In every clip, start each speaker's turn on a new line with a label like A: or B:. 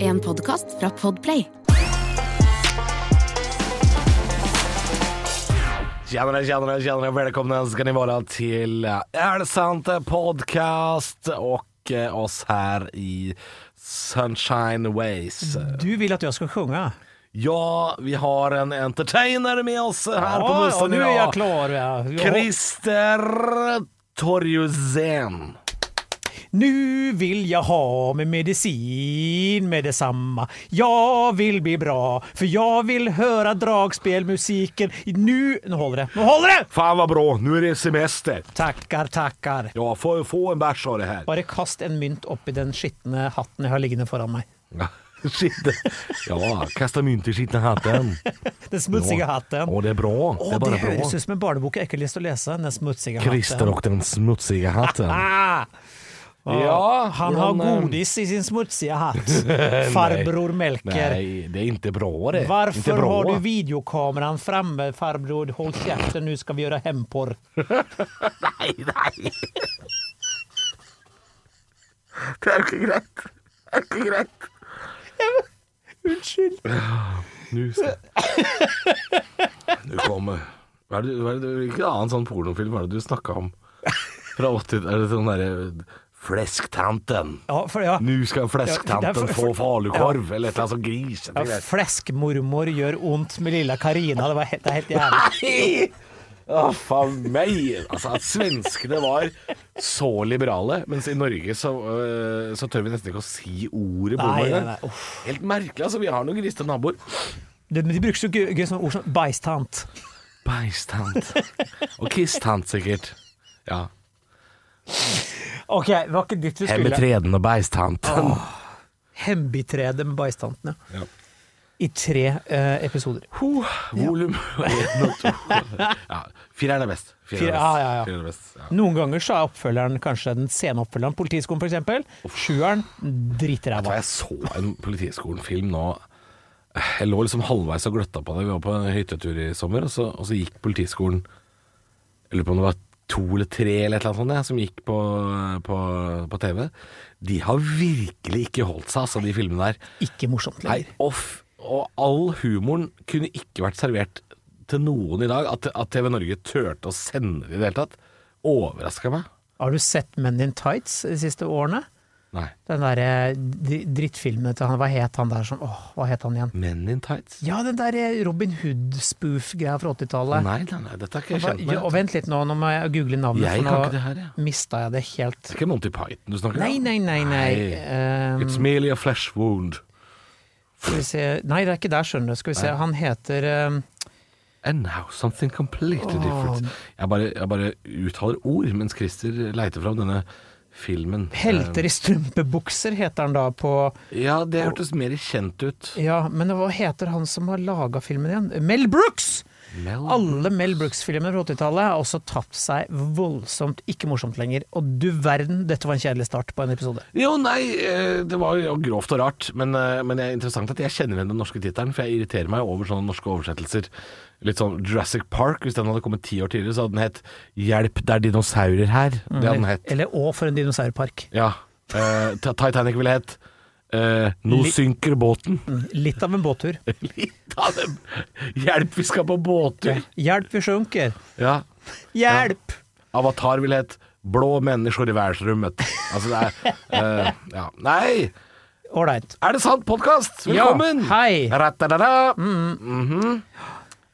A: En podkast fra Podplay.
B: Tjenere, tjenere, tjenere. Velkommen skal ni være til eh, Er det sant? Podcast og eh, oss her i Sunshine Ways.
C: Du vill att jag ska sjunga.
B: Ja, vi har en entertainer med oss her på
C: Ja,
B: bussen
C: nu är jag
B: idag.
C: klar. Ja. Jag-
B: Christer Torjusen.
C: Nu vill jag ha med medicin med detsamma. Jag vill bli bra, för jag vill höra dragspelmusiken. Nu... Nu håller det. Nu håller det!
B: Fan vad bra, nu är det semester.
C: Tackar, tackar.
B: Ja, får få en bärs av det här.
C: Bare kast en mynt oppi den skitne hatten jeg har liggende foran meg.
B: Shit. Ja, kasta mynt i skitna hatten.
C: Den smutsige hatten.
B: Ja, det är bra.
C: Å,
B: det är
C: det,
B: bara bra.
C: høres ut som en barnebok jeg ikke har lyst til å lese. Den smutsige
B: Christer
C: hatten.
B: och den smutsiga hatten.
C: Ah!
B: Ja, eh,
C: Han har godis i sin smutsige hatt. Farbror Melker.
B: Nej, det är inte bra det. inte
C: Varför
B: bra.
C: har du videokameran framme farbror? Håll käften nu ska vi göra hämndporr.
B: Nej, nej. Det er ikke greit. Det er ikke greit.
C: Unnskyld.
B: Nu ska... Nu kommer... Hva er det, hva er det, hvilken annen sånn pornofilm var det du snakka om? Fra 80 Er det sånn derre Flesktanten.
C: Ja, for, ja.
B: Nu skal
C: Ja, det
B: flesktanten
C: er for-
B: få falukorv, eller et eller annet sånn sånt gris.
C: ja fläskmormor gör ont med lilla Karina. Det var helt, det är helt jävligt.
B: Nei! Å, faen meg! Altså, at svenskene var så liberale, mens i Norge så, øh, så tør vi nesten ikke å si ordet
C: Nei,
B: bonde.
C: nei, nei. Uff.
B: Helt merkelig, altså. Vi har noen grisete naboer.
C: Det- Men de brukar så gøy, gøy som ord som bajstant.
B: Bæsjtant. Og kisstant, sikkert. Ja.
C: Okej, okay, var ikke ditt vi skulle.
B: Hemmetreden og bæsjtanten.
C: Hembiträde med bajstantene.
B: Ja.
C: I tre eh, episoder.
B: Volum én og to. Ja, Fireren er best. Fireren er best.
C: Fire- ah, ja, ja, ja.
B: Fireren er best. Ja.
C: Noen ganger så er oppfølgeren kanskje den sene oppfølgeren. Politiskolen for eksempel. Sjueren,
B: Da
C: dritræva.
B: jeg så en Politiskolen-film nå Jeg lå liksom halvveis og gløtta på det. Vi var på en hyttetur i sommer, og så, og så gikk Politiskolen Jeg lurer på om det var to eller tre eller et eller annet sånt, ja, som gikk på, på, på TV. De har virkelig ikke holdt seg, altså, de filmene der.
C: Ikke morsomt
B: Nei,
C: lenger.
B: off, og all humoren kunne ikke vært servert til noen i dag. At, at TV Norge turte å sende det i det hele tatt, overraska meg.
C: Har du sett Men in Tights de siste årene?
B: Nei.
C: Den der eh, dri- drittfilmen til han, hva het han der som Åh, hva het han igjen?
B: Men in tights?
C: Ja, den der eh, Robin Hood-spoof-greia fra 80-tallet.
B: Nei, nei, nei, dette er ikke jeg
C: Hva-
B: kjent
C: Altså, Ja, og
B: med.
C: vent litt nå, nå må jeg google navnet,
B: Jeg
C: for
B: kan ikke det
C: nå
B: her, jeg.
C: mista jeg det helt.
B: Det er ikke Monty Python du snakker om?
C: Nei, nei, nei, nei. Ehm,
B: It's merely a flesh wound.
C: skal vi se Nei, det er ikke der, skjønner du. Skal vi se, han heter ehm,
B: And now something completely
C: Åh.
B: different. Jeg bare, jeg bare uttaler ord mens Christer leiter fram denne filmen.
C: Helter i strømpebukser, heter han da på
B: Eh, Ja, det hørtes mer kjent ut.
C: Ja, men hva heter han som har laga filmen igjen? Mel Brooks!
B: Mel
C: Alle Mel Brooks-filmer fra 80-tallet har også tapt seg voldsomt, ikke morsomt lenger. Og du verden, dette var en kjedelig start på en episode.
B: Jo, nei, eh, det var jo grovt og rart, men, eh, men det er interessant at jeg kjenner igjen den norske tittelen, for jeg irriterer meg over sånne norske oversettelser. Litt sånn Jurassic Park, hvis den hadde kommet ti år tidligere, så hadde den hett 'Hjelp, det er dinosaurer her'. Det hadde den hett.
C: Eller Å for en dinosaurpark.
B: Ja. eh, Ti- Titanic ville hett eh, 'Nå
C: Li-
B: synker båten'.
C: Litt av en båttur.
B: Litt av dem. 'Hjelp, vi skal på båttur'.
C: Hjelp, vi sjunker!
B: Ja.
C: Hjelp!
B: Avatar ville hett 'Blå mennesker i verdensrommet'. Altså det er eh, Ja. Nei!
C: Ålreit.
B: Er det sant podkast? Velkommen!
C: Ja, hei. Mm.
B: Ratadada. Mhm.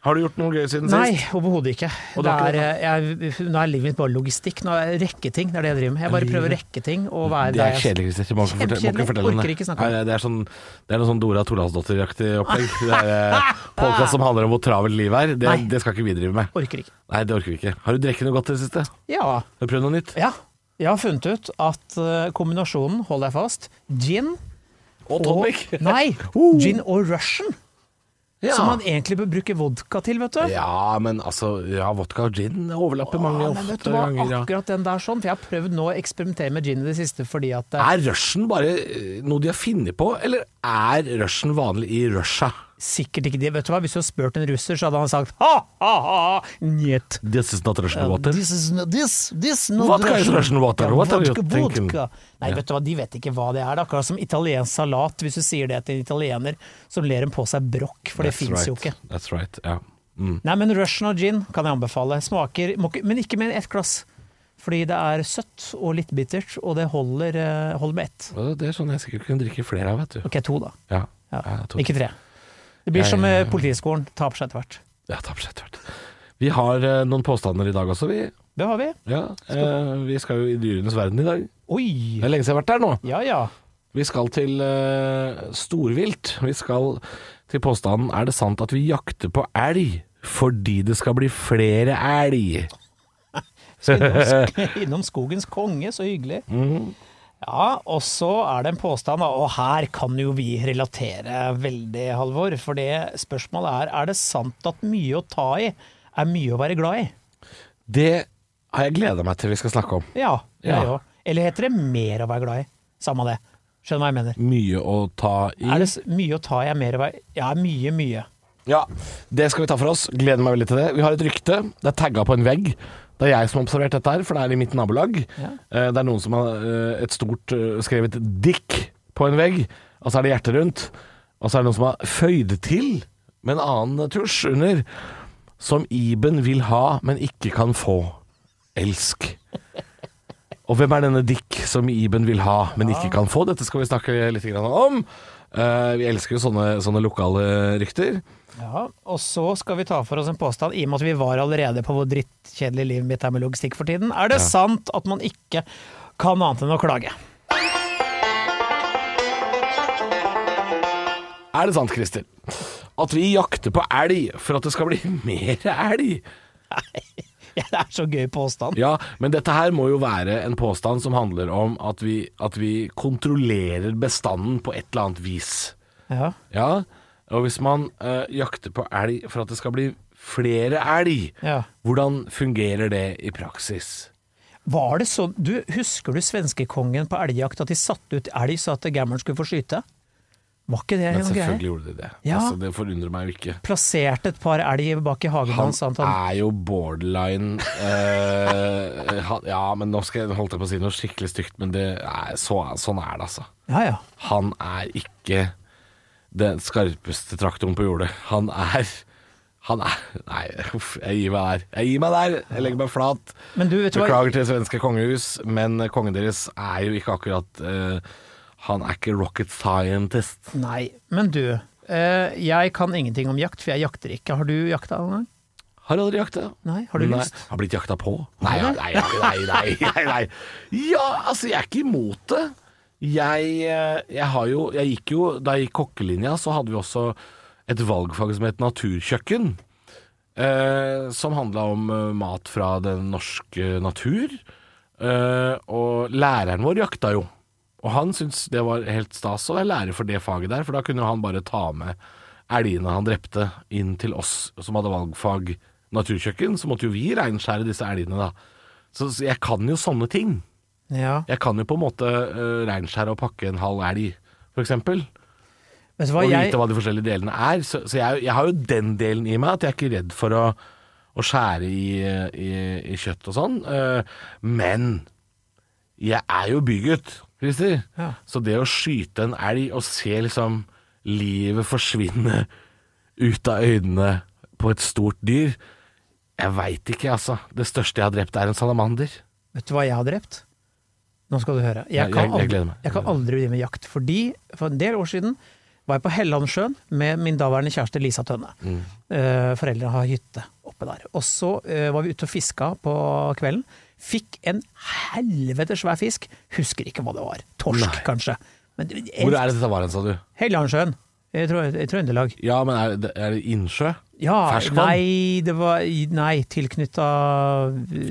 B: Har du gjort noe gøy siden
C: Nei,
B: sist?
C: overhodet ikke.
B: Og
C: Det
B: det har
C: er, jeg, nå er livet mitt bare logistikk. Nå er jeg rekketing, det er det jeg driver med. Jeg bare prøver å rekke ting og være
B: Det er
C: der jeg-
B: kjedelig, Christer. Må ikke fortelle- må ikke
C: Kjempekjedelig.
B: fortelle om det.
C: Orker ikke snakke om det.
B: Nei, det. Er sånn, det er noe sånn Dora Thorlandsdottir-aktig opplegg. Det er eh, podcast som handler om hvor travelt livet er.
C: Nei.
B: Det, det skal ikke vi drive med.
C: Orker ikke.
B: Nei, det orker vi ikke. Har du drukket noe godt i det siste? Har
C: Ja.
B: du prøvd noe nytt?
C: ja. Jeg har funnet ut at eh, kombinasjonen, hold deg fast, gin
B: Og tonic. Uh.
C: og Nei, gin og Russian.
B: Ja.
C: Som man egentlig bør bruke vodka til, vet du.
B: ja, men altså Ja, vodka og gin overlapper mange
C: men vet du hva,
B: ofte ganger. Ja.
C: akkurat den der sånn, for jeg har prøvd nå å eksperimentere med gin i det siste fordi at eh,
B: Er rushen bare eh, noe de har funnet på, eller er rushen vanlig i Russia?
C: sikkert ikke det. Vet du hva? Hvis du hadde spurt en russer, så hadde han sagt ha-ha-ha, njet.
B: This is not Russian water.
C: This is no, this, this no
B: Vodka is Russian water.
C: Ja,
B: What are you
C: vodka,
B: thinking?
C: vodka. Nei, vet du hva, de vet ikke hva det er. Det er akkurat som italiensk salat. Hvis du sier det til en italiener, så ler de på seg brokk, for det
B: That's
C: fins jo
B: right.
C: ikke.
B: That's right, ja. Mm.
C: Nei, men Russian og gin kan jeg anbefale. Smaker, må, ikke- men ikke med ett glass. Fordi det er søtt og litt bittert, og det holder, eh, holder med ett.
B: Og Det er sånn jeg sikkert kunne drikke flere av, vet du.
C: Ok, to da.
B: Ja.
C: Ja.
B: Ja, to.
C: Ikke tre. Det blir
B: Jeg-
C: som eh, Politiskolen, taper seg etter hvert.
B: Ja, tar på seg etter hvert. Vi har eh, noen påstander i dag også, vi.
C: Det har vi.
B: Ja, eh, vi skal jo i dyrenes verden i dag. Det
C: Oi!
B: er lenge siden jeg har vært der nå.
C: Ja ja.
B: Vi skal til eh, storvilt. Vi skal til påstanden 'Er det sant at vi jakter på elg fordi det skal bli flere elg'?
C: Skal innom, sk- innom skogens konge, så hyggelig.
B: Mhm.
C: Ja, og så er det en påstand, da, og her kan jo vi relatere veldig, Halvor. For det spørsmålet er er det sant at mye å ta i er mye å være glad i.
B: Det har jeg gleda meg til vi skal snakke om.
C: Ja, jeg
B: Ja.
C: òg. Eller heter det mer å være glad i? Samme det. Skjønner hva jeg mener.
B: Mye å ta i.
C: Er det s- mye å ta i er mer å være Ja, mye, mye.
B: Ja, det skal vi ta for oss. Gleder meg veldig til det. Vi har et rykte. Det er tagga på en vegg. Det er jeg som har observert dette her, for det er i mitt nabolag.
C: Ja.
B: Eh, Det er noen som har eh, et stort eh, skrevet 'dick' på en vegg, og så er det hjertet rundt. Og så er det noen som har føyd til med en annen tusj under, som Iben vil ha, men ikke kan få. Elsk. Og hvem er denne Dick som Iben vil ha, men ikke kan få? Dette skal vi snakke litt grann om. Eh, vi elsker jo sånne, sånne lokale rykter.
C: Ja, og så skal vi ta for oss en påstand, i og med at vi var allerede på hvor drittkjedelig livet mitt er med logistikk for tiden. Er det sant at man ikke kan annet enn å klage?
B: Er det sant, Christer, at vi jakter på elg for at det skal bli mer elg?
C: Ja, det er så gøy påstand.
B: Ja, men dette her må jo være en påstand som handler om at vi, at vi kontrollerer bestanden på et eller annet vis.
C: Ja.
B: Ja, og hvis man eh, jakter på elg for at det skal bli flere elg,
C: Ja.
B: hvordan fungerer det i praksis?
C: Var det så, du, Husker du svenskekongen på elgjakt, at de satte ut elg så at gammelen skulle få skyte? Var ikke det
B: Men
C: en greie?
B: selvfølgelig gjorde de det.
C: Ja.
B: Altså, det forundrer meg jo ikke.
C: Plasserte et par elg bak i hagen
B: Han
C: hans. sånn at han-
B: er jo borderline eh, han, Ja, men nå skal jeg holdt jeg på å si noe skikkelig stygt, men det er, så, sånn er det, altså.
C: Ja, ja.
B: Han er ikke den skarpeste traktoren på jordet. Han er Han er Nei, uff, jeg gir meg der. Jeg gir meg der! Jeg legger meg flat.
C: Men du, vet du hva?
B: Beklager til det svenske kongehus, men kongen deres er jo ikke akkurat eh, Han er ikke rocket scientist.
C: Nei, men du. Eh, jeg kan ingenting om jakt, for jeg jakter ikke. Har du jakta noen gang?
B: Har aldri jakta.
C: Nei, har du
B: nei.
C: lyst?
B: Har blitt jakta på? Nei, ja, nei, ja, nei, nei, nei, nei. Ja, altså, jeg er ikke imot det. Jeg, eh, jeg har jo Jeg gikk jo Da jeg gikk kokkelinja, så hadde vi også et valgfag som het naturkjøkken. Eh, som handla om eh, mat fra den norske natur. Eh, og læreren vår jakta jo. Og han syntes det var helt stas å være lærer for det faget der, for da kunne jo han bare ta med elgene han drepte inn til oss som hadde valgfag naturkjøkken. Så måtte jo vi reinskjære disse elgene, da. Så, så jeg kan jo sånne ting.
C: Ja.
B: Jeg kan jo på en måte eh, reinskjære og pakke en halv elg, for eksempel.
C: Vet du hva,
B: Og
C: jeg,
B: vite hva de forskjellige delene er. Så, så jeg, jeg har jo den delen i meg, at jeg er ikke redd for å, å skjære i, i, i kjøtt og sånn. Eh, Men jeg er jo bygutt, Christer.
C: Ja.
B: Så det å skyte en elg og se liksom livet forsvinne ut av øynene på et stort dyr Jeg veit ikke, altså. Det største jeg har drept, er en salamander.
C: vet du hva jeg har drept? Nå skal du høre.
B: Ja,
C: Jeg kan,
B: jeg- jeg gleder
C: aldri,
B: meg.
C: jeg kan aldri drive med jakt, fordi for en del år siden var jeg på Hellandsjøen med min daværende kjæreste Lisa Tønne.
B: Mm.
C: Eh, foreldrene har hytte oppe der. Og så eh, var vi ute og fiska på kvelden. Fikk en helvetes svær fisk. Husker ikke hva det var. Torsk,
B: Nei.
C: kanskje. Men, det- en-
B: Hvor er det dette var hen, sa du?
C: Hellandsjøen. I Trø- i Trøndelag.
B: Ja, men er det, er det innsjø?
C: Ja,
B: Ferskvann?
C: Nei, det var Nei, tilknytta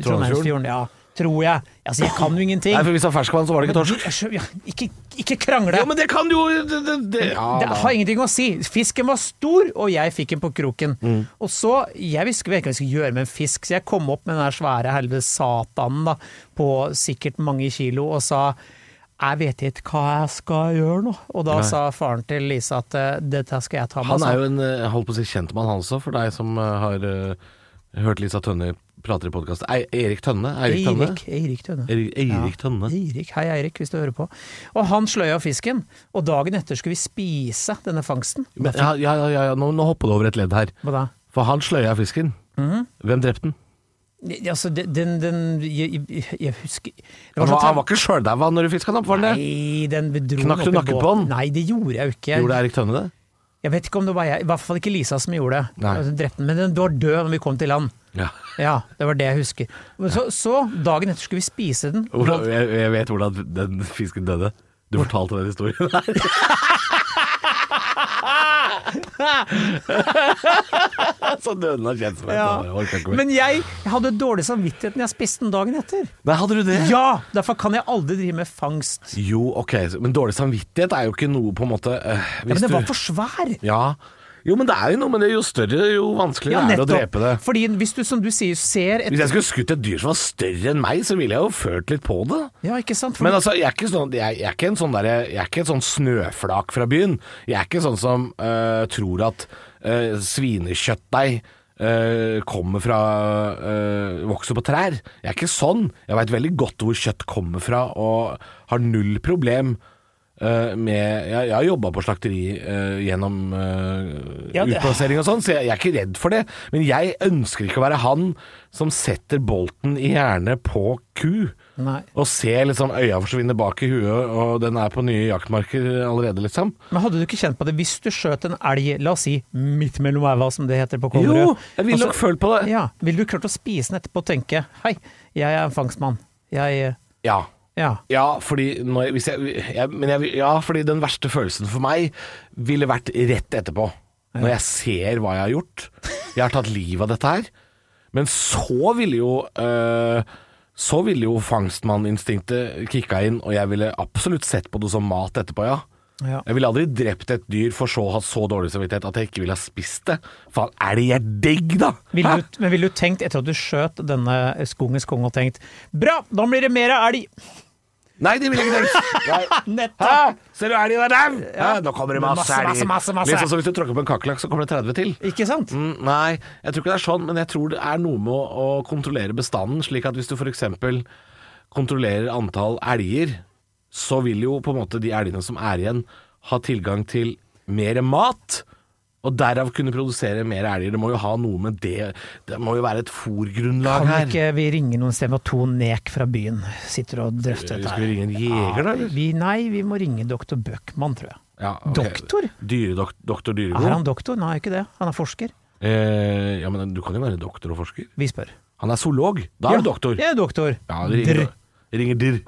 C: Trondheimsfjorden. Ja, tror jeg. Altså, jeg kan jo ingenting.
B: Nei, for hvis det var ferskvann, så var det ikke torsk.
C: Jeg skjø- ja, ikke, ikke krangle!
B: Ja, men det kan du jo det, det, det.
C: det har ingenting å si. Fisken var stor, og jeg fikk den på kroken.
B: Mm.
C: Og så, Jeg visste ikke hva jeg skulle gjøre med en fisk, så jeg kom opp med den der svære helvete satanen da, på sikkert mange kilo og sa jeg vet ikke hva jeg skal gjøre nå. Og da
B: Nei.
C: sa faren til Lisa at eh, dette skal jeg ta med
B: Han er
C: altså.
B: jo en eh, holdt på å si kjentmann, han også, for deg som eh, har eh, hørt Lisa Tønne prate i podkast. Erik Tønne? Eirik Tønne?
C: Eirik, Eirik Tønne.
B: Eirik, Eirik
C: Ja.
B: Tønne.
C: Eirik, Hei, Eirik, hvis du hører på. Og han sløy av fisken, og dagen etter skulle vi spise denne fangsten.
B: Men, ja, ja, ja, ja, ja, nå, nå hopper du over et ledd her.
C: Hva da?
B: For han sløya fisken.
C: Mhm.
B: Hvem drepte den?
C: Altså, den, den, den jeg, jeg- jeg husker det
B: Han
C: var så
B: var, han var ikke sjøldaua når du fiska den opp, var han det?
C: Nei, den dro
B: Knakk du
C: den opp i
B: nakken på
C: båten.
B: den?
C: Nei, det gjorde jeg jo ikke.
B: Gjorde Eirik Tønne det?
C: Jeg vet ikke om det var jeg, i hvert fall ikke Lisa som gjorde det.
B: Nei.
C: Altså, drepte den, Men den var død når vi kom til land.
B: Ja.
C: Ja, det var det jeg husker. Men så, så dagen etter skulle vi spise den.
B: Hvordan, jeg, jeg vet hvordan den fisken døde. Du fortalte den historien der. Så døde den av kjensomhet.
C: Ja.
B: Jeg orker ikke mer.
C: Men jeg, jeg hadde dårlig samvittighet når jeg spiste den dagen etter.
B: Nei, hadde du det?
C: Ja! Derfor kan jeg aldri drive med fangst.
B: Jo, ok, så- men dårlig samvittighet er jo ikke noe på en måte øh,
C: Ja, men
B: hvis
C: den var
B: du-
C: for svær!
B: Ja. Jo, men det er jo noe med det. Jo større, jo vanskeligere er det å drepe det.
C: Fordi hvis du, som du sier, ser et
B: Hvis jeg skulle skutt et dyr som var større enn meg, så ville jeg jo ført litt på det.
C: Ja, ikke sant? For
B: Men altså, jeg er ikke, sånn, jeg, jeg er ikke en sånn der, Jeg er ikke en sånn snøflak fra byen. Jeg er ikke sånn som øh, tror at øh, svinekjøttdeig øh, kommer fra øh, Vokser på trær. Jeg er ikke sånn. Jeg veit veldig godt hvor kjøtt kommer fra, og har null problem. øh, med, jeg, jeg har jobba på slakteri øh, gjennom øh,
C: Ja, det-
B: utplassering og sånn, så jeg, jeg er ikke redd for det. Men jeg ønsker ikke å være han som setter bolten i hjernen på ku.
C: Nei.
B: Og ser liksom øya forsvinne bak i huet, og den er på nye jaktmarker allerede, liksom.
C: Men hadde du ikke kjent på det hvis du skjøt en elg, la oss si midt mellom æva, som det heter på Kongerød?
B: Jo, jeg ville nok følt på det.
C: Ja, Ville du klart å spise den etterpå og tenke hei, jeg er en fangstmann. Jeg
B: Ja.
C: Ja.
B: Ja, fordi når jeg, hvis jeg, jeg, men jeg, ja, fordi den verste følelsen for meg ville vært rett etterpå. Når jeg ser hva jeg har gjort. Jeg har tatt livet av dette her. Men så ville jo øh, Så ville jo fangstmanninstinktet kicka inn, og jeg ville absolutt sett på det som mat etterpå, ja.
C: ja.
B: Jeg ville aldri drept et dyr for så å ha så dårlig samvittighet at jeg ikke ville ha spist det. Faen, elg er digg, da!
C: Ville
B: Hæ?
C: du, men ville du tenkt, etter at du skjøt denne skogens konge, og tenkt bra, da blir det mer elg!
B: Nei, det ville jeg ikke tenkt. Nei. Hæ?
C: Nettopp!
B: Ser du elgen er der? Ja. Nå kommer det masse,
C: Masse,
B: elg.
C: masse, masse, masse.
B: Litt sånn som hvis du tråkker på en kakerlakk, så kommer det 30 til.
C: Ikke sant?
B: Mm, nei, jeg tror ikke det er sånn, men jeg tror det er noe med å, å kontrollere bestanden, slik at hvis du f.eks. kontrollerer antall elger, så vil jo på en måte de elgene som er igjen, ha tilgang til mer mat. Og derav kunne produsere mer elger. Det må jo ha noe med det Det må jo være et fôrgrunnlag
C: Kan
B: her.
C: ikke vi ringe noen sted med to nek fra byen sitter og drøfter dette
B: Skal
C: her?
B: vi ringe en jeger, da? eller?
C: Ah, Vi, nei, vi må ringe doktor Bøckmann, tror jeg.
B: Ja, ok.
C: Doktor?
B: Dyredok doktor Dyregod?
C: Er han doktor? Nei, ikke det. Han er forsker.
B: Eh, ja, men du kan jo være doktor og forsker.
C: Vi spør.
B: Han er zoolog. Da er du doktor.
C: Jeg er doktor.
B: Ja, det ringer,
C: Drr.
B: det ringer dirr.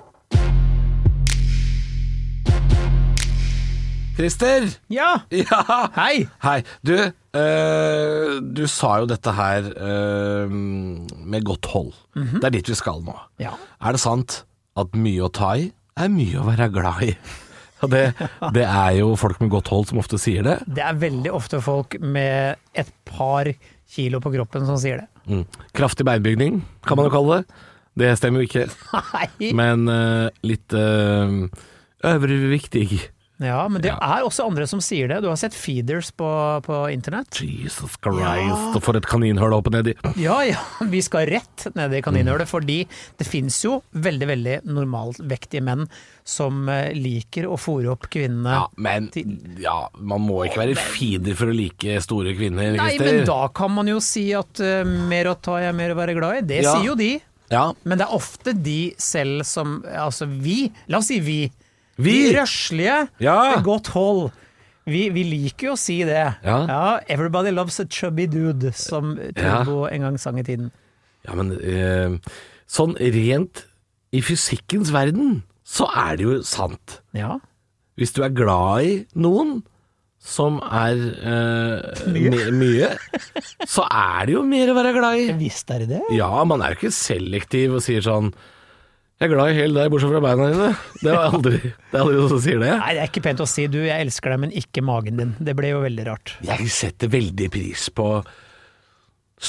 B: Christer!
C: Ja!
B: Ja!
C: Hei!
B: Hei. Du, eh, du sa jo dette her eh, med godt hold. Det er dit vi skal nå.
C: Ja.
B: Er det sant at mye å ta i er mye å være glad i? Og det, det er jo folk med godt hold som ofte sier det.
C: Det er veldig ofte folk med et par kilo på kroppen som sier det.
B: Mm. Kraftig beinbygning, kan man jo kalle det. Det stemmer jo ikke.
C: Nei!
B: Men eh, litt uh, øvrigviktig.
C: Ja, men det er også andre som sier det. Du har sett feeders på, på internett?
B: Jesus Christ, for et kaninhull opp og ned i.
C: Ja, ja, vi skal rett ned i
B: Mm.
C: kaninhullet, fordi det finnes jo veldig, veldig normalvektige menn som eh, liker å fòre opp kvinnene.
B: Ja, men ja, man må ikke være fiender for å like store kvinner,
C: Nei,
B: Christer.
C: men da kan man jo si at eh, mer å ta er mer å være glad i. Det
B: Ja.
C: sier jo de.
B: Ja.
C: Men det er ofte de selv som Altså vi, la oss si vi.
B: Vi!
C: De røslige
B: Ja.
C: med godt hold. Vi, vi liker jo å si det.
B: Ja.
C: Everybody loves a chubby dude, som Trumbo en gang sang i tiden.
B: ja, men eh, sånn rent i fysikkens verden, så er det jo sant.
C: Ja.
B: Hvis du er glad i noen som er eh, mye. mye, så er det jo mer å være glad i.
C: Visst er det det.
B: Ja, man er jo ikke selektiv og sier sånn Jeg er glad i hele deg, bortsett fra beina dine. Det er aldri, det er aldri noen som sier det.
C: Nei, det er ikke pent å si du, jeg elsker deg, men ikke magen din. Det ble jo veldig rart.
B: Jeg setter veldig pris på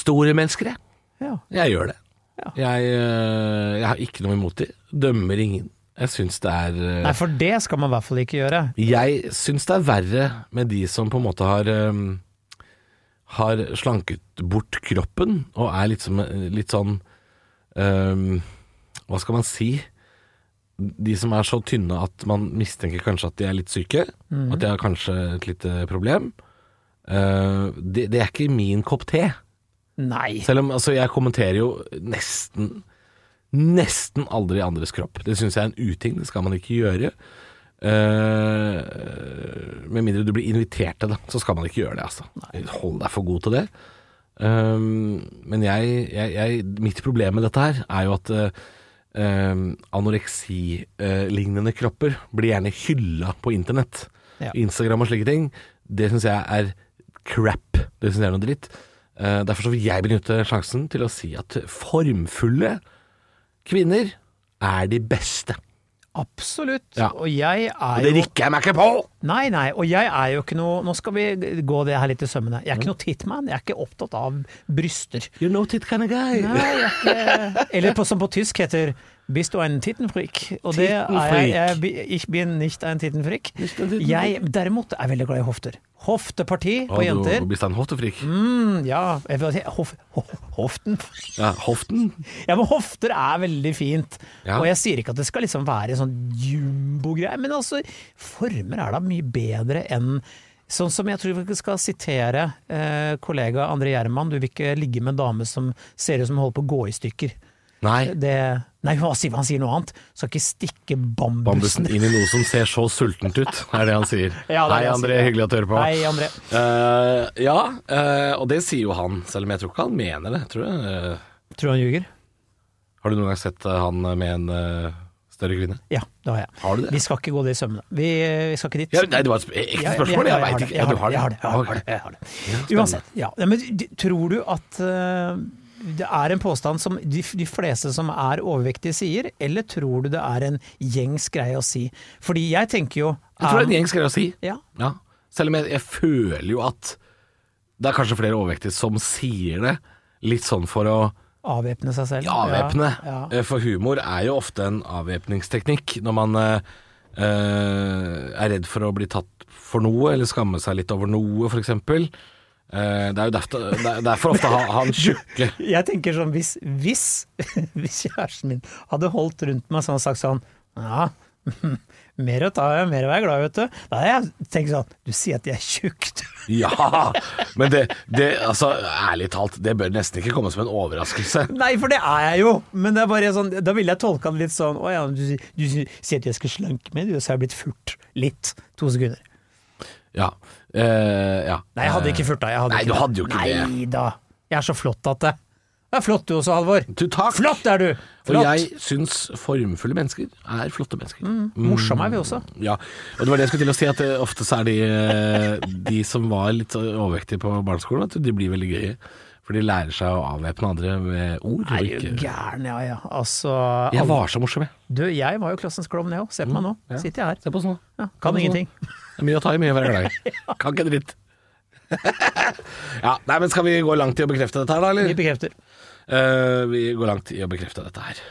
B: store mennesker, jeg.
C: Ja.
B: Jeg eh, gjør det.
C: Ja.
B: Jeg, øh, jeg har ikke noe imot de. Dømmer ingen. Jeg syns det er eh,
C: Nei, for det skal man i hvert fall ikke gjøre.
B: Jeg syns det er verre med de som på en måte har um, Har slanket bort kroppen og er litt, som, litt sånn um, Hva skal man si? De som er så tynne at man mistenker kanskje at de er litt syke. At de har kanskje et lite problem. Uh, det, det er ikke min kopp te.
C: Nei.
B: Selv om altså, jeg kommenterer jo nesten Nesten aldri andres kropp. Det syns jeg er en uting. Det skal man ikke gjøre. Eh, med mindre du blir invitert til det, så skal man ikke gjøre det. Altså. Hold deg for god til det. Um, men jeg, jeg, jeg Mitt problem med dette her er jo at eh, um, anoreksi-lignende eh, kropper blir gjerne hylla på internett.
C: Ja.
B: Instagram og slike ting. Det syns jeg er crap. Det syns jeg er noe dritt. Eh, derfor så vil jeg benytte sjansen til å si at formfulle kvinner er de beste.
C: Absolutt.
B: Ja.
C: Og jeg
B: Og
C: er
B: det
C: jo
B: rikker jeg meg ikke på!
C: Nei, nei, og jeg er jo ikke noe Nå skal vi gå det her litt i sømmene. Jeg er ikke noe titman. Jeg er ikke opptatt av bryster.
B: You're no tit kind of guy.
C: Nei, jeg er ikke Eller på, som på tysk heter 'bist du ein Tittenfreak'. Og det er jeg. jeg bi- Ich bin nicht ein Tittenfreak.
B: Nicht ein Tittenfreak.
C: Jeg derimot er veldig glad i hofter. Hofteparti på jenter.
B: Du blir stand hoftefrik.
C: Mm, ja, jeg vil si hof, ho- hoften.
B: Ja, hoften.
C: Ja, men hofter er veldig fint.
B: Ja.
C: Og jeg sier ikke at det skal liksom være en sånn jumbo-greie, men altså, former er da mye bedre enn Sånn som jeg tror vi skal sitere eh, kollega André Gjerman, du vil ikke ligge med en dame som ser ut som hun holder på å gå i stykker
B: Nei.
C: det, Nei, hva sier han sier noe annet. Skal ikke stikke bambusen.
B: Bambusen inn i noe som ser så sultent ut, er det han sier.
C: Ja, det er
B: Hei,
C: det han
B: André.
C: sier.
B: Hyggelig at du hører på.
C: Hei, André.
B: Eh, ja, eh, og det sier jo han, selv om jeg tror ikke han mener det. Tror du? Eh,
C: Tror du han ljuger?
B: har du noen gang sett eh, han med en eh, større kvinne?
C: Ja, det har jeg.
B: Har du det?
C: Vi skal ikke gå det i sømmene. Vi, vi skal ikke dit.
B: Ja, nei, det var et sp- ekte
C: Ja,
B: spørsmål.
C: ja,
B: Jeg,
C: har
B: veit
C: det,
B: ikke.
C: Jeg
B: Ja,
C: har
B: du har det?
C: det. Jeg har det. Jeg har det. Jeg har det. Uansett. Ja. Nei, Men d- tror du at eh, det er en påstand som de, f- de fleste som er overvektige sier, eller tror du det er en gjengs greie å si? Fordi jeg tenker jo
B: Jeg tror det er en
C: eh,
B: gjeng skal jeg si.
C: ja,
B: Ja. Selv om jeg, jeg føler jo at det er kanskje flere overvektige som sier det, litt sånn for å
C: avvæpne seg selv.
B: Ja, avvæpne.
C: Ja, ja.
B: Eh, For humor er jo ofte en avvæpningsteknikk når man eh, eh, er redd for å bli tatt for noe, eller skamme seg litt over noe, f.eks. Uh, det er jo derfor, det er derfor ofte ha- han tjukke
C: Jeg tenker sånn, hvis, hvis, hvis kjæresten min hadde holdt rundt meg sånn og sagt sånn Ja, mer å ta, ja, mer å være glad i, vet du. Da hadde jeg tenkt sånn Du sier at jeg er tjukk, du.
B: Ja! Men det, det altså, ærlig talt, det bør nesten ikke komme som en overraskelse.
C: Nei, for det er jeg jo! Men det er bare sånn, da ville jeg tolka det litt sånn Å ja, du, si- du si- sier at jeg skal slanke meg, du, så har jeg blitt furt. Litt. To sekunder.
B: Ja. Eh, ja.
C: Nei, jeg hadde ikke furta. Jeg hadde
B: Nei,
C: ikke
B: du
C: det.
B: hadde jo ikke det.
C: Nei da. Jeg er så flott at det Det er flott du også, Halvor.
B: Du, Eh, takk!
C: Flott er du!
B: Og
C: Flott. Mm.
B: jeg mm, syns formfulle mennesker er flotte mennesker.
C: Morsomme er vi også.
B: Ja, og det var det jeg skulle til å si, at eh, ofte så er de, eh, de som var litt overvektige på barneskolen, vet du, de blir veldig gøye. For de lærer seg å avvæpne andre med ord.
C: Nei,
B: og
C: er du
B: ikke...
C: gæren, ja ja. Altså
B: Jeg var så morsom, jeg.
C: Du, jeg var jo klassens klovn, jeg òg. Se på meg nå.
B: Mm,
C: Sitter jeg her.
B: Se på oss nå.
C: Ja, kan ingenting.
B: Det er mye å ta i, mye å være glad i. Kan ikke dritt. ja, nei, men Skal vi gå langt i å bekrefte dette her, da?
C: Vi
B: eller?
C: bekrefter.
B: Eh, vi går langt i å bekrefte dette her.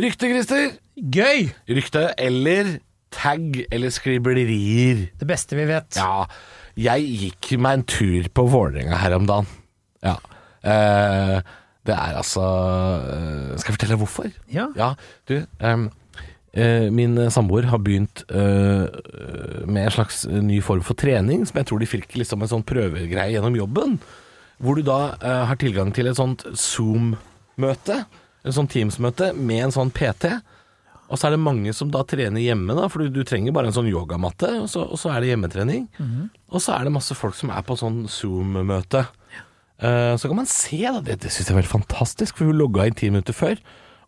B: Rykte, Christer.
C: Gøy!
B: Rykte eller tag eller skriblerier.
C: Det beste vi vet.
B: Ja, jeg gikk meg en tur på Vålerenga her om dagen. Ja. Eh, det er altså eh, Skal jeg fortelle deg hvorfor?
C: Ja.
B: Ja, du ehm, eh, Min samboer har begynt eh, med en slags ny form for trening, som jeg tror de fikk liksom en sånn prøvegreie gjennom jobben. Hvor du da eh, har tilgang til et sånt Zoom-møte, et sånt Teams-møte med en sånn PT. Og så er det mange som da trener hjemme, da, for du, du trenger bare en sånn yogamatte, og så, og så er det hjemmetrening.
C: Mhm.
B: Og så er det masse folk som er på sånn Zoom-møte. Eh, så kan man se, da. Det, det syns jeg er veldig fantastisk, for hun logga inn ti minutter før.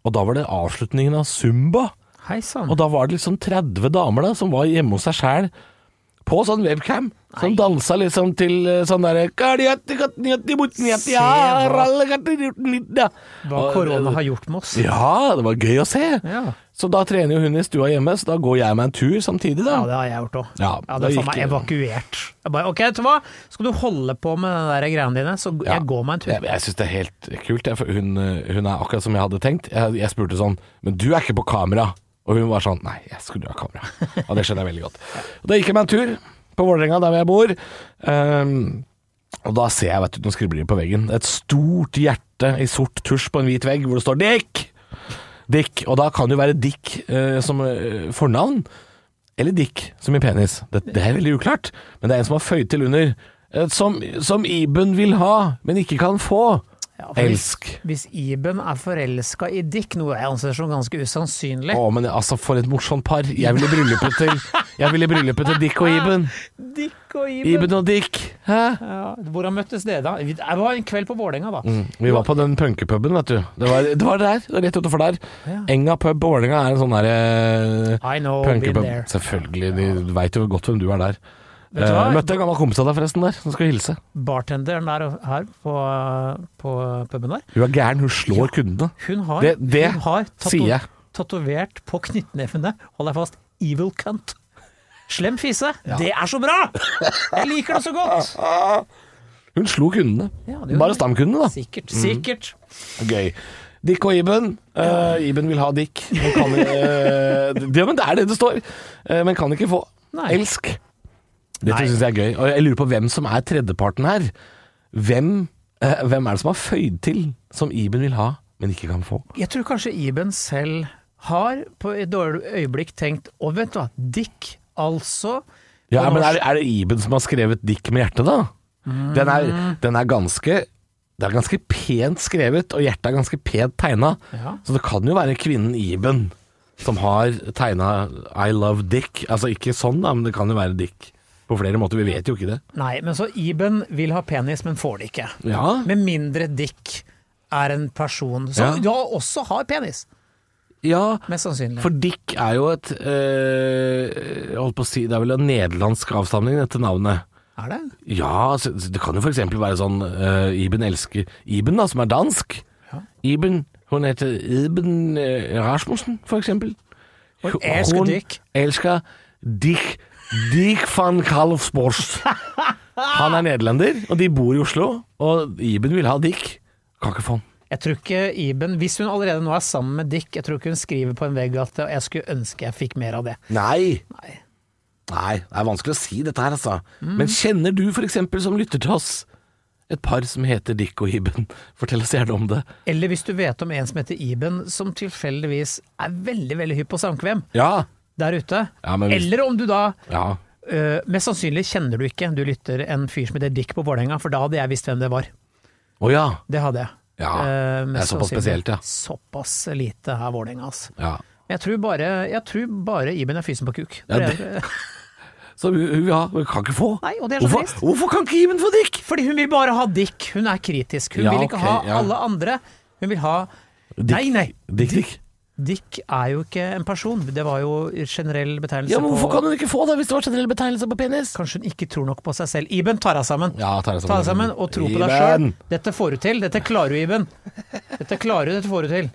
B: Og da var det avslutningen av Zumba.
C: Mm. Hei sann.
B: Og da var det liksom 30 damer da som var hjemme hos seg sjæl På sånn webcam. Som dansa liksom til eh, sånn derre
C: Hva
B: eh,
C: korona har gjort med oss.
B: Ja, det var gøy å se.
C: Ja.
B: Så da trener jo hun i stua hjemme, så da går jeg meg en tur samtidig,
C: Ja,
B: da.
C: det har jeg gjort òg.
B: Ja,
C: jeg
B: da
C: hadde faen
B: gikk
C: meg
B: jeg-
C: evakuert. Jeg bare, ok, vet du hva? Skal du holde på med den der greiene dine, så g-
B: Ja.
C: jeg går meg en tur.
B: Jeg, jeg syns det er helt kult. Jeg, for hun, eh, hun er akkurat som jeg hadde tenkt. Jeg, jeg spurte sånn Men du er ikke på kamera? Og hun var sånn Nei, jeg skulle ha kamera. Og det skjønner jeg veldig godt. Og da gikk jeg meg en tur på Vålerenga, der hvor jeg bor. Ehm, og da ser jeg, vet du, noen skriblerier på veggen. Et stort hjerte i sort tusj på en hvit vegg hvor det står 'Dick'. Dick. Og da kan det jo være Dick eh, som eh, fornavn. Eller Dick, som i penis. Det, det er veldig uklart. Men det er en som har føyd til under. eh, Som, som Iben vil ha, men ikke kan få.
C: Ja, for hvis,
B: Elsk.
C: hvis Iben er forelska i Dick, noe jeg anser som ganske usannsynlig
B: Å, men altså, for et morsomt par. Jeg ville bryllupet til Jeg ville bryllupet til Dick og Iben.
C: Dick og Iben.
B: Iben og Dick. Hæ?
C: Ja, hvordan møttes dere da? Vi- Det var en kveld på Vålerenga, da.
B: Vi var på den punkepuben, vet du. Det var, det var der. det var Rett utenfor der.
C: Ja.
B: Enga pub på Vålerenga er en sånn derre
C: I know, been
B: punkepub.
C: there.
B: Selvfølgelig. De veit jo godt hvem du er der.
C: Vet du
B: Eh,
C: hva?
B: møtte en gammel kompis av deg forresten der, som skal hilse.
C: Bartenderen der og her på, på puben der,
B: Hun er gæren, hun slår kundene.
C: hun har,
B: Det- det
C: hun har tato-
B: sier jeg.
C: tatovert på knyttnevene, hold deg fast, evil cunt. Slem fise. Det er så bra! Jeg liker det så godt!
B: Hun slo kundene.
C: Ja, det gjorde
B: Bare
C: hun.
B: stamkundene, da.
C: Sikkert. Sikkert.
B: Gøy. Dick og Iben. Eh, Iben vil ha Dick. Hun kan, eh, det, men det er det det står. Eh, men kan ikke få.
C: Nei.
B: Elsk. Dette
C: Nei.
B: syns jeg er gøy. Og jeg lurer på hvem som er tredjeparten her. Hvem, eh, hvem er det som har føyd til, som Iben vil ha, men ikke kan få?
C: Jeg tror kanskje Iben selv har på et dårlig øyeblikk tenkt Å, vent hva, Dick, altså
B: Ja,
C: på
B: men er,
C: norsk-
B: det- er det Iben som har skrevet Dick med hjerte, da? Den, er,
C: Mm.
B: den er ganske det er ganske pent skrevet, og hjertet er ganske pent tegna.
C: Ja.
B: Så det kan jo være kvinnen Iben som har tegna 'I love Dick'. Altså ikke sånn, da, men det kan jo være Dick på flere måter. Vi vet jo ikke det.
C: Nei, men så Iben vil ha penis, men får det ikke.
B: Ja,
C: Med mindre Dick er en person
B: Ja.
C: som ja. også har penis,
B: ja
C: mest sannsynlig.
B: for Dick er jo et øh, jeg Holdt på å si, det er vel en nederlandsk avstamning, dette navnet.
C: Er det?
B: Ja, så- så det kan jo for eksempel være sånn eh, Iben elsker Iben da, som er dansk. Iben, hun heter Iben eh, Rasmussen, for eksempel.
C: Hun elsker
B: Hun
C: Dick.
B: elsker Dick. Dick van Kalfsborst. Han er nederlender, og de bor i Oslo. Og Iben vil ha Dick. Kan ikke få han.
C: Jeg tror ikke Iben Hvis hun allerede nå er sammen med Dick, jeg tror ikke hun skriver på en vegg at «Å, jeg skulle ønske jeg fikk mer av det.
B: Nei.
C: Nei.
B: Nei, det er vanskelig å si dette her, altså. Men kjenner du for eksempel som lytter til oss, et par som heter Dick og Iben? Fortell oss gjerne om det.
C: Eller hvis du vet om en som heter Iben, som tilfeldigvis er veldig veldig hypp på samkvem
B: Ja.
C: der ute.
B: Ja, men hvis-
C: Eller om du da
B: Ja.
C: øh, Mest sannsynlig kjenner du ikke, du lytter, en fyr som heter Dick på Vålerenga, for da hadde jeg visst hvem det var.
B: Å ja.
C: Det hadde jeg.
B: Ja,
C: Eh,
B: det er
C: mest
B: såpass
C: sannsynlig.
B: spesielt, ja.
C: Såpass lite her Vålerenga, altså.
B: Ja.
C: Jeg tror bare, jeg tror bare Iben er fysen på kuk.
B: Ja,
C: Det er-
B: Så hun, hun vil ha, men kan ikke få.
C: Nei, og det er så
B: hvorfor,
C: trist.
B: hvorfor kan ikke Iben få dick?
C: Fordi hun vil bare ha Dick. Hun er kritisk. Hun
B: Ja,
C: vil ikke
B: ok,
C: ha
B: ja.
C: alle andre. Hun vil ha Nei, nei.
B: Dick, dick.
C: Dick er jo ikke en person. Det var jo generell betegnelse
B: Ja, men hvorfor
C: på
B: kan hun ikke få det hvis det var generell betegnelse på penis?
C: Kanskje hun ikke tror nok på seg selv. Iben, ta deg sammen.
B: Ja, ta deg
C: Ta deg sammen og tro på deg sjøl.
B: Iben!
C: Dette får du til. Dette klarer du, Iben. Dette klarer du, dette får du til.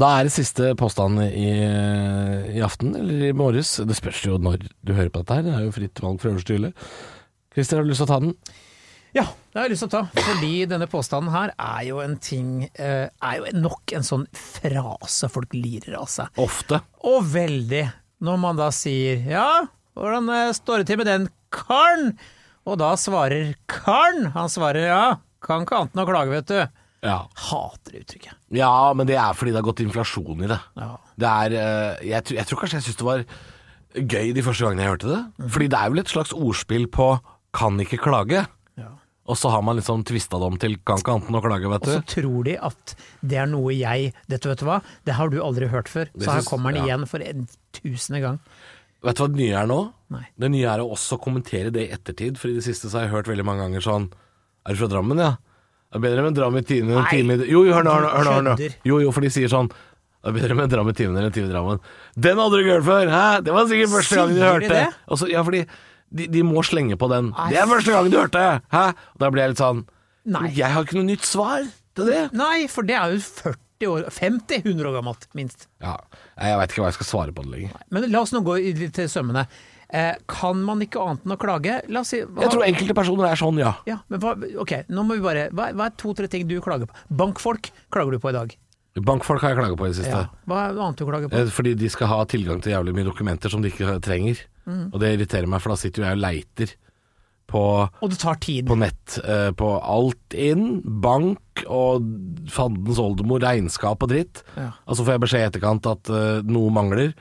B: Da er det siste påstand eh, i, i aften, eller i morges. Det spørs jo når du hører på dette her. Det er jo fritt valg fra øverste hylle. Christer, har du lyst til å ta den?
C: Ja, det har jeg lyst til å ta. Fordi denne påstanden her er jo en ting eh, Er jo nok en sånn frase folk lirer av seg.
B: Ofte.
C: Og veldig. Når man da sier ja, hvordan eh, står det til med den karen? Og da svarer karen, han svarer ja, kan ikke annet enn å klage, vet du.
B: Ja.
C: Hater det uttrykket.
B: ja, men det er fordi det har gått inflasjon i det.
C: Ja.
B: Det er eh, jeg, tror- jeg tror kanskje jeg syntes det var gøy de første gangene jeg hørte det.
C: Mhm.
B: Fordi det er vel et slags ordspill på 'kan ikke klage',
C: Ja.
B: og så har man liksom tvista det om til 'kan ikke annet enn å klage', vet
C: Og så
B: du.
C: tror de at det er noe jeg Dette vet du hva, det har du aldri hørt før.
B: Det
C: Så her
B: syns-
C: kommer
B: ja.
C: den igjen for en tusende gang.
B: Vet du hva det nye er nå?
C: Nei.
B: Det nye er å også kommentere det i ettertid, for i det siste så har jeg hørt veldig mange ganger sånn 'Er du fra Drammen, ja?' Det er bedre med en dram i tiden enn en
C: Nei,
B: time i Jo, jo, hør nå, hør nå, hør nå, hør nå.
C: du kødder.
B: Jo, jo, for de sier sånn Det er bedre med en dram i timen enn en time i Drammen. Den hadde du ikke hørt før! Hæ? Det var sikkert første gang du
C: Sier de
B: hørte
C: det?
B: Altså, ja, fordi de, de må slenge på den.
C: Nei.
B: Det er første gang du hørte! Hæ? Og da blir jeg litt sånn
C: Nei.
B: Jeg har ikke noe nytt svar til det.
C: Nei, for det er jo 40 år 50, 100 år gammelt, minst.
B: Ja, Nei, jeg veit ikke hva jeg skal svare på det lenger.
C: Men la oss nå gå i- til sømmene. Eh, kan man ikke annet enn å klage? La oss si hva,
B: Jeg tror enkelte personer er sånn, ja.
C: ja, men hva, Ok, nå må vi bare Hva, hva er to-tre ting du klager på? Bankfolk klager du på i dag.
B: Bankfolk har jeg klaga på i det siste.
C: Ja. Hva er noe annet du klager på?
B: Eh, Fordi de skal ha tilgang til jævlig mye dokumenter som de ikke trenger.
C: Mm.
B: Og det irriterer meg, for da sitter jo jeg og leiter på,
C: Og det tar tid.
B: på nett eh, på alt inn, bank og fandens oldemor, regnskap og dritt.
C: Ja.
B: Og så får jeg beskjed i etterkant at eh, noe mangler,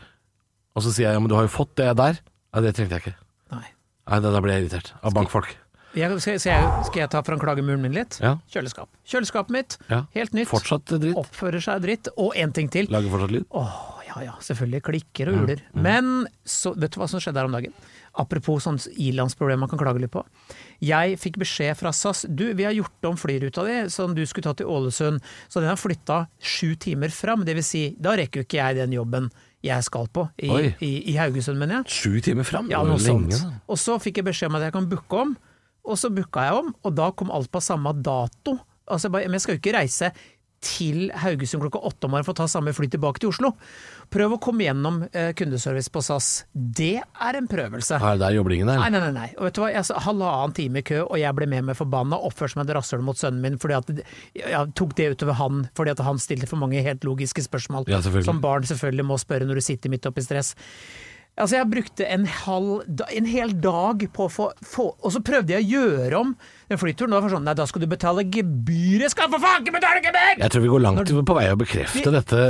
B: og så sier jeg ja, men du har jo fått det der. Nei, det trengte jeg ikke.
C: Nei.
B: Nei, da da blir jeg irritert. Av bankfolk.
C: Jeg, skal, skal, jeg, skal jeg ta fram klagemuren min litt?
B: Ja.
C: Kjøleskap. Kjøleskapet mitt,
B: Ja.
C: helt nytt.
B: Fortsatt dritt.
C: Oppfører seg dritt. Og én ting til.
B: Lager fortsatt lyd.
C: Åh, ja ja, selvfølgelig. Klikker og uler. Men så, vet du hva som skjedde her om dagen? Apropos sånn ilandsproblem man kan klage litt på. Jeg fikk beskjed fra SAS du, vi har gjort om flyruta di som du skulle ta til Ålesund, så den har flytta sju timer fram. Det vil si, da rekker jo ikke jeg den jobben jeg skal på i,
B: Oi.
C: i, i Haugesund, mener jeg.
B: Sju timer fram?
C: Ja,
B: Det var
C: noe
B: jo
C: sånt.
B: lenge, da.
C: Og så fikk jeg beskjed om at jeg kan booke om, og så booka jeg om, og da kom alt på samme dato. Altså, jeg bare, men jeg skal jo ikke reise til Haugesund klokka åtte om morgenen for å ta samme fly tilbake til Oslo. Prøv å komme gjennom eh, kundeservice på SAS. Det er en prøvelse.
B: Er det der joblingen er?
C: Nei, nei, nei. nei. Og vet du hva? Jeg sa halvannen time i kø, og jeg ble med meg forbanna. Oppførte meg som et rasshøl mot sønnen min fordi at jeg tok det utover han fordi at han stilte for mange helt logiske spørsmål.
B: Ja, selvfølgelig.
C: som barn selvfølgelig må spørre når du sitter midt oppi stress. Altså, jeg brukte en, halv, da- en hel dag på å få, få Og så prøvde jeg å gjøre om den flyturen. Da var det sånn Nei, da skal du betale gebyr! Jeg skal for faen ikke betale gebyr!
B: Jeg tror vi går langt på vei å bekrefte dette,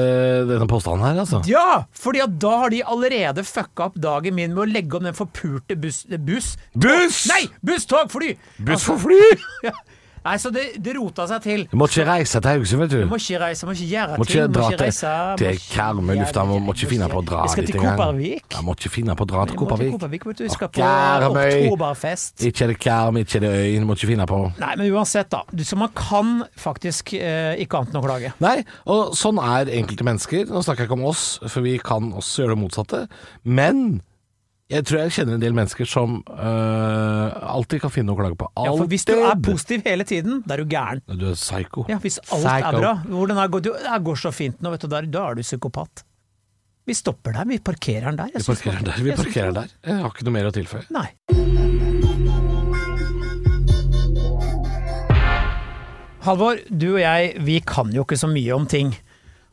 B: denne påstanden her, altså.
C: Ja! fordi at da har de allerede fucka opp dagen min med å legge om den forpurte buss... buss
B: Buss!
C: Nei! Altså, Buss, tog, fly!
B: Buss for fly!
C: Ja. Nei, så det, det rota seg til.
B: Du må ikke reise til Haugesund, vet
C: Må
B: du.
C: ikke reise, må ikke gjøre
B: Må
C: ting,
B: ikke dra til,
C: reise, må
B: til
C: ikke-
B: Karmøy lufthavn, må ikke finne på å dra
C: Jeg skal
B: dit
C: til
B: engang.
C: Kopervik.
B: Jeg må ikke finne på å dra til
C: Jeg må til
B: Kopervik.
C: Kopervik, vet du. Jeg
B: Å,
C: skal på
B: Karmøy.
C: oktoberfest.
B: Ikke er det Karmøy, ikke er det øyen, må ikke finne på.
C: Nei, men uansett, da. Du- Så man kan faktisk eh, ikke annet enn å klage.
B: Nei, og sånn er enkelte mennesker. Nå snakker jeg ikke om oss, for vi kan også gjøre det motsatte. Men jeg tror jeg kjenner en del mennesker som øh, alltid kan finne noe å klage på.
C: Ja,
B: Alltid.
C: for hvis du er positiv hele tiden, da er du gæren.
B: Du er psyko.
C: Ja, hvis alt er bra. Hvordan er, går- du, det går så fint nå, vet du, da, da er du psykopat. Vi stopper der, vi parkerer den der. Jeg
B: Vi
C: synes-
B: parkerer der. Vi
C: jeg synes-
B: parkerer der. Jeg har ikke noe mer å tilføye.
C: Nei. Halvor, du og jeg, vi kan jo ikke så mye om ting.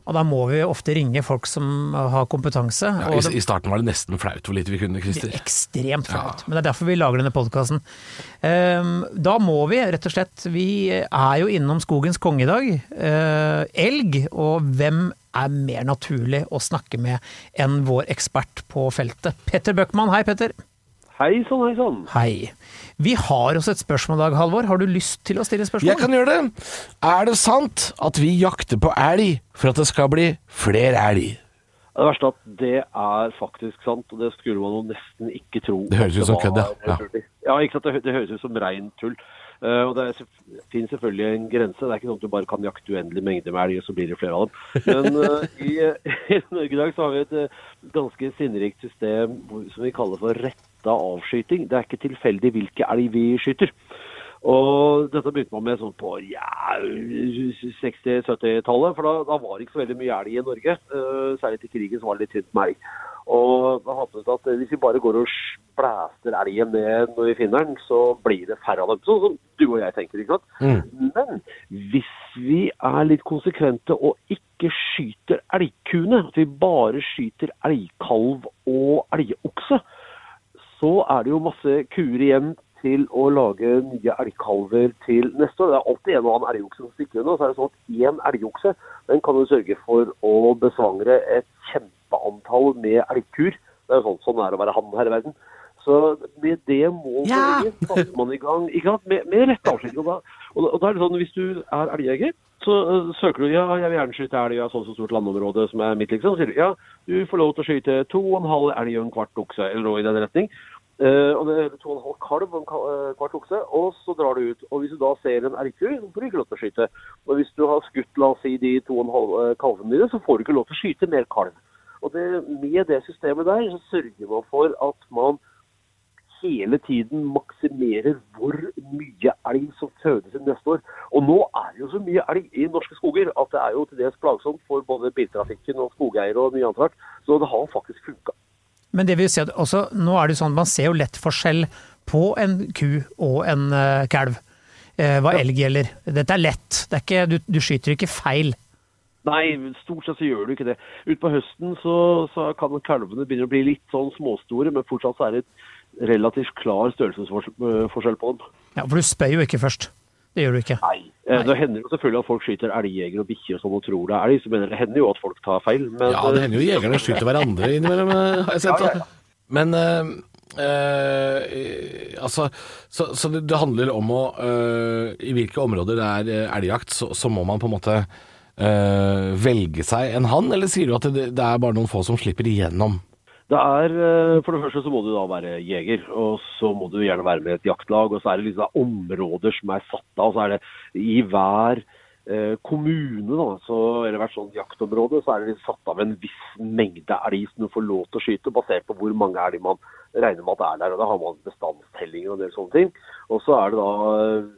C: Og da må vi jo ofte ringe folk som har kompetanse.
B: Ja,
C: og
B: i, I starten var det nesten flaut hvor lite vi kunne,
C: det
B: Christer.
C: blir ekstremt flaut. Men det er derfor vi lager denne podkasten. da må vi rett og slett Vi er jo innom skogens konge i dag. eh, elg. Og hvem er mer naturlig å snakke med enn vår ekspert på feltet? Petter Bøckmann. Hei, Petter.
A: Hei sann, hei sann.
C: Hei. Vi har også et spørsmål i dag, Halvor. Har du lyst til å stille spørsmål?
B: Jeg kan gjøre det. Er det sant at vi jakter på elg for at det skal bli flere elg?
A: Det verste er at det er faktisk sant, og det skulle man jo nesten ikke tro.
B: Det høres
A: at
B: ut som
A: var
B: kødd, ja. Ja.
A: mulig. ja, ikke sant. Det, hø- det høres ut som rein tull. Eh, og Det er, selvf- finnes selvfølgelig en grense. Det er ikke sånn at du bare kan jakte uendelig mengde med elg, og så blir det flere av dem. Men eh, i, i Norge i dag så har vi et eh, ganske sinnrikt system hvor- som vi kaller for retta avskyting. Det er ikke tilfeldig hvilke elg vi skyter. Og dette begynte man med sånn på ja, 60-70-tallet, for da, da var det ikke så veldig mye elg i Norge. Eh, særlig til krigen så var det litt tynt med elg. Og da fant vi ut at eh, hvis vi bare går og sj- blæster elgen ned når vi finner den, så blir det færre av dem. Sånn som du og jeg tenker, ikke sant. Men hvis vi er litt konsekvente og ikke skyter elgkuene, at vi bare skyter elgkalv og elgokse, så er det jo masse kuer igjen til å lage nye elgkalver til neste år. Det er alltid en og annen elgokse som stikker unna. Så er det sånn at én elgokse den kan jo sørge for å besvangre et kjempeantall med elgkuer. Det er jo sånn sånn det er å være han her i verden. Så med det målet
B: Ja.
A: i ryggen satte man i gang ikke sant? med, med rette avskyting. Og da, og, da- og da er det sånn, hvis du er elgjeger, så øh, søker du ja, jeg vil gjerne skyte elg, jeg har sånn så stort landområde som er mitt, liksom. Så sier du ja, du får lov til å skyte to og en halv elg og en kvart okse, eller noe i den retning. Eh, og det er to og en halv kalv og en ka- eh, kvart okse, og så drar du ut. Og Hvis du da ser en erkur, så får du ikke lov til å skyte. Og Hvis du har skutt la oss si, de to og en halv eh, kalvene dine, så får du ikke lov til å skyte mer kalv. Og det, Med det systemet der så sørger man for at man hele tiden maksimerer hvor mye elg som fødes inn neste år. Og nå er det jo så mye elg i norske skoger at det er jo til dels plagsomt for både biltrafikken og skogeiere og mye annet rart. Så det har faktisk funka.
C: Men det vil si at også, nå er det jo sånn, man ser jo lett forskjell på en ku og en eh, kalv, eh, hva elg gjelder. Dette er lett, det er ikke, du, du skyter ikke feil.
A: Nei, stort sett så gjør du ikke det. Utpå høsten så, så kan kalvene begynne å bli litt sånn småstore, men fortsatt så er det et relativt klar størrelsesforskjell på dem.
C: Ja, for du spør jo ikke først. Det gjør du ikke.
A: Nei. Eh, Det hender jo selvfølgelig at folk skyter elgjegere og bikkjer og sånn og tror det er elg, så mener det hender jo at folk tar feil. Men
B: Ja, det hender jo jegerne skyter hverandre innimellom, eh, har jeg sett.
A: Ja, ja, ja.
B: Men eh, eh, altså, så, så det, det handler om å eh, I hvilke områder det er eh, elgjakt, så, så må man på en måte eh, velge seg en hann, eller sier du at det, det er bare noen få som slipper igjennom?
A: Det er, eh, For det første så må du da være jeger, og så må du gjerne være med i et jaktlag. Og så er det liksom da områder som er satt av. Så er det i hver eh, kommune, da, så, eller hvert sånt sånn jaktområde, så er det liksom satt av en viss mengde elg som du får lov til å skyte, basert på hvor mange elg man regner med at er der. og Da har man bestandstellinger og en del sånne ting. Og så er det da eh,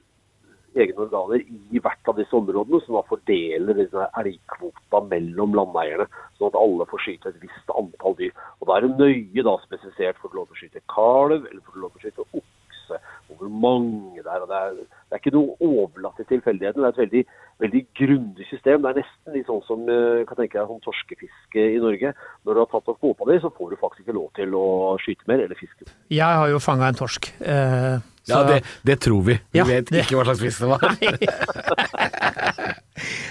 A: egne organer i hvert av disse områdene, som da fordeler disse elgkvota mellom landeierne, sånn at alle får skyte et visst antall dyr. Og Da er det nøye da spesifisert får du lov til å skyte kalv, eller får du lov til å skyte okse, og hvor mange det er. og Det er, det er ikke noe overlatt til tilfeldighetene. Det er et veldig, veldig grundig system. Det er nesten litt sånn som eh, kan tenke deg som torskefiske i Norge. Når du har tatt opp kvopa di, så får du faktisk ikke lov til å skyte mer eller fiske.
C: Jeg har jo fanga en torsk. eh,
B: Ja,
C: så-
B: det, det tror vi. Vi
C: Ja,
B: vet
C: det-
B: ikke hva slags fisk det var.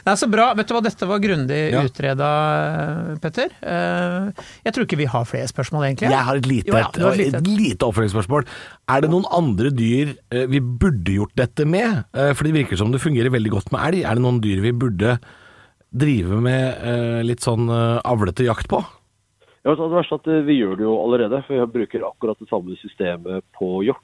C: Nei, så bra. Vet du hva, dette var grundig
B: Ja.
C: utredet, utreda, Petter. Eh, jeg tror ikke vi har flere spørsmål, egentlig.
B: Jeg har et lite,
C: Jo, ja, du har et lite.
B: et lite oppfølgingsspørsmål. Er det noen andre dyr eh, vi burde gjort dette med? Eh, For det virker som det fungerer veldig godt med elg. Er det noen dyr vi burde drive med eh, litt sånn eh, avlete jakt på?
A: Ja, altså, det verste er at eh, Vi gjør det jo allerede, for vi bruker akkurat det samme systemet på hjort.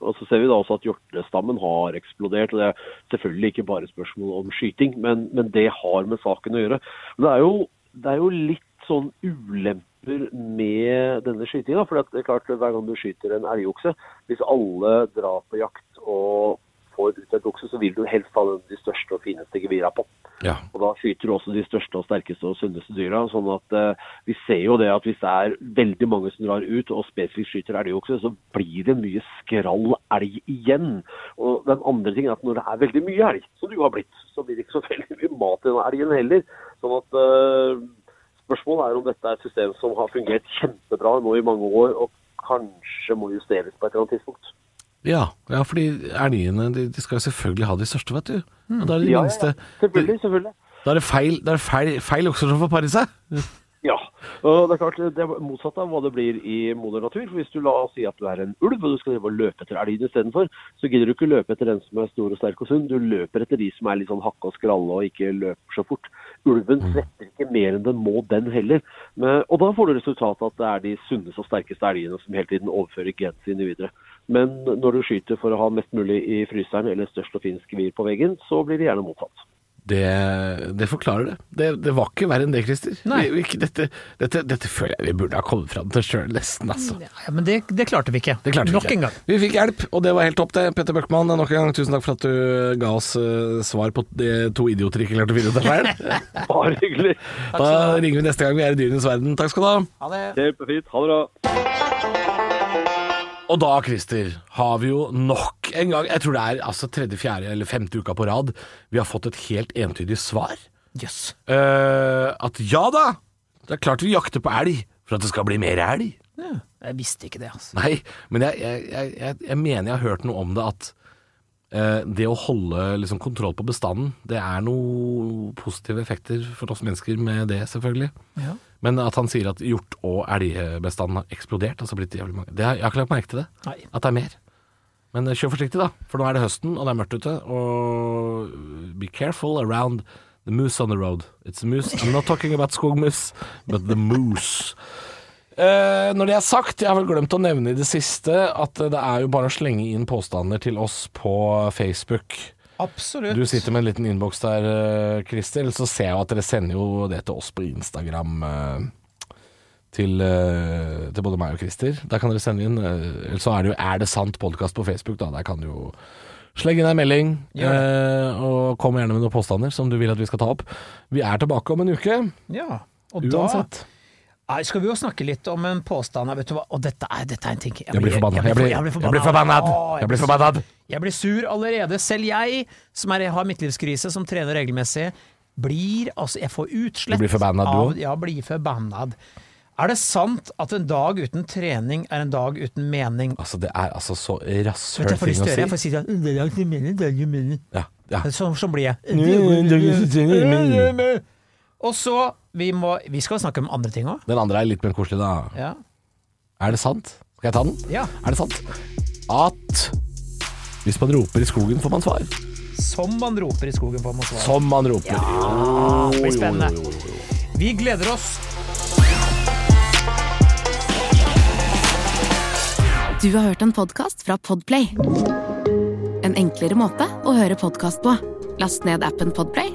A: Og Så ser vi da også at hjortestammen har eksplodert. og Det er selvfølgelig ikke bare spørsmål om skyting, men, men det har med saken å gjøre. Men det er jo, det er jo litt sånn ulemper med denne skytinga. For det er klart, hver gang du skyter en elgokse, hvis alle drar på jakt og får ut et okse, så vil du helst ha den de største og fineste gevira på.
B: Ja.
A: Og da skyter du også de største og sterkeste og sunneste dyra. Sånn at eh, vi ser jo det at hvis det er veldig mange som drar ut og spesifikt skyter elgokse, så blir det mye skrall elg igjen. Og den andre ting er at når det er veldig mye elg, som det jo har blitt, så blir det ikke så veldig mye mat i den elgen heller. Sånn at eh, spørsmålet er om dette er et system som har fungert kjempebra nå i mange år, og kanskje må justeres på et eller annet tidspunkt.
B: Ja, ja fordi elgene de, de skal jo selvfølgelig ha de største, vet du.
C: Mm.
B: Og da er det de
A: Ja, ja, ja.
B: minste.
A: Selvfølgelig, selvfølgelig.
B: Da er det feil, da er det feil, feil okser som får pare seg.
A: Ja. og Det er klart det er motsatt av hva det blir i moder natur. for Hvis du la oss si at du er en ulv og du skal drive og løpe etter elgen istedenfor, så gidder du ikke løpe etter den som er stor og sterk og sunn. Du løper etter de som er litt sånn hakke og skralle og ikke løper så fort. Ulven svetter ikke mer enn den må, den heller. Men, og da får du resultatet at det er de sunneste og sterkeste elgene som hele tiden overfører genene sine videre. Men når du skyter for å ha mest mulig i fryseren eller størst og finsk gevir på veggen, så blir det gjerne motsatt.
B: Det, det forklarer det. det. Det var ikke verre enn det, Christer.
C: Nei.
B: Vi, vi, ikke- dette, dette, dette føler jeg vi burde ha kommet fram til sjøl, nesten, altså.
C: Ja, men det, det klarte vi ikke.
B: Det klarte vi
C: Nok
B: ikke.
C: en gang.
B: Vi fikk hjelp, og det var helt topp det. Petter Bøckmann, nok en gang tusen takk for at du ga oss eh, svar på det to idioter ikke klarte å finne ut av sjøl.
A: Bare hyggelig.
B: Da ringer vi neste gang vi er i dyrenes verden. Takk skal du ha.
A: Kjempefint. Ha det bra.
B: Og da, Christer, har vi jo nok en gang Jeg tror det er altså tredje, fjerde eller femte uka på rad vi har fått et helt entydig svar.
C: Jøss.
B: Eh, at ja da, det er klart vi jakter på elg for at det skal bli mer elg.
C: Ja, jeg visste ikke det, altså.
B: Nei, men jeg, jeg, jeg, jeg, jeg mener jeg har hørt noe om det at eh, det å holde liksom, kontroll på bestanden, det er noen positive effekter for oss mennesker med det, selvfølgelig.
C: Ja.
B: Men at han sier at hjort- og elgbestanden har eksplodert, altså blitt jævlig mange det har, Jeg har ikke lagt merke til det,
C: Nei.
B: at det er mer. Men eh, kjør forsiktig, da, for nå er det høsten, og det er mørkt ute. Og be careful around the moose on the road. It's a moose. I'm not talking about skogmus, but the moose. Eh, når det er sagt, jeg har vel glemt å nevne i det siste at eh, det er jo bare å slenge inn påstander til oss på Facebook.
C: Absolutt.
B: Du sitter med en liten innboks der, eh, Christer. Så ser jeg jo at dere sender jo det til oss på Instagram. eh, Til, eh, til både meg og Christer. Der kan dere sende inn. eh, Eller så er det jo Er det sant podkast på Facebook, da. Der kan du jo slenge inn ei melding. eh, og kom gjerne med noen påstander som du vil at vi skal ta opp. Vi er tilbake om en uke.
C: Ja. Og
B: Uansett.
C: da Nei, skal vi jo snakke litt om en påstand her, vet du hva. Og dette er, dette er en ting
B: Jeg blir forbanna. Jeg blir, jeg blir
C: forbanna.
B: forbanna.
C: Å,
B: Jeg blir forbanna.
C: Jeg blir sur allerede. Selv jeg, som er, har midtlivskrise, som trener regelmessig, blir altså Jeg får utslett
B: Du blir forbannad, du
C: av-
B: også?
C: Ja, blir forbannad. Er det sant at en dag uten trening er en dag uten mening?
B: Altså, det er altså så
C: Vet du,
B: rasshøl
C: jeg får lyst
B: ting
C: til å
B: å
C: gjøre jeg får
B: si.
C: si det. En dag uten mening, dag uten mening.
B: Ja, ja.
C: Sånn sånn blir
B: en dag uten
C: jeg.
B: trening.
C: Og så Vi, må, vi skal snakke om andre ting òg.
B: Den andre er litt mer koselig, da.
C: Ja.
B: Er det sant? Skal jeg ta den?
C: ja.
B: Er det sant at hvis man roper i skogen, får man svar?
C: Som man roper i skogen på Mosvaren.
B: Som man roper. Ja,
C: blir spennende. Vi gleder oss.
D: Du har hørt en podcast fra Podplay En enklere måte å høre podcast på Last ned appen Podplay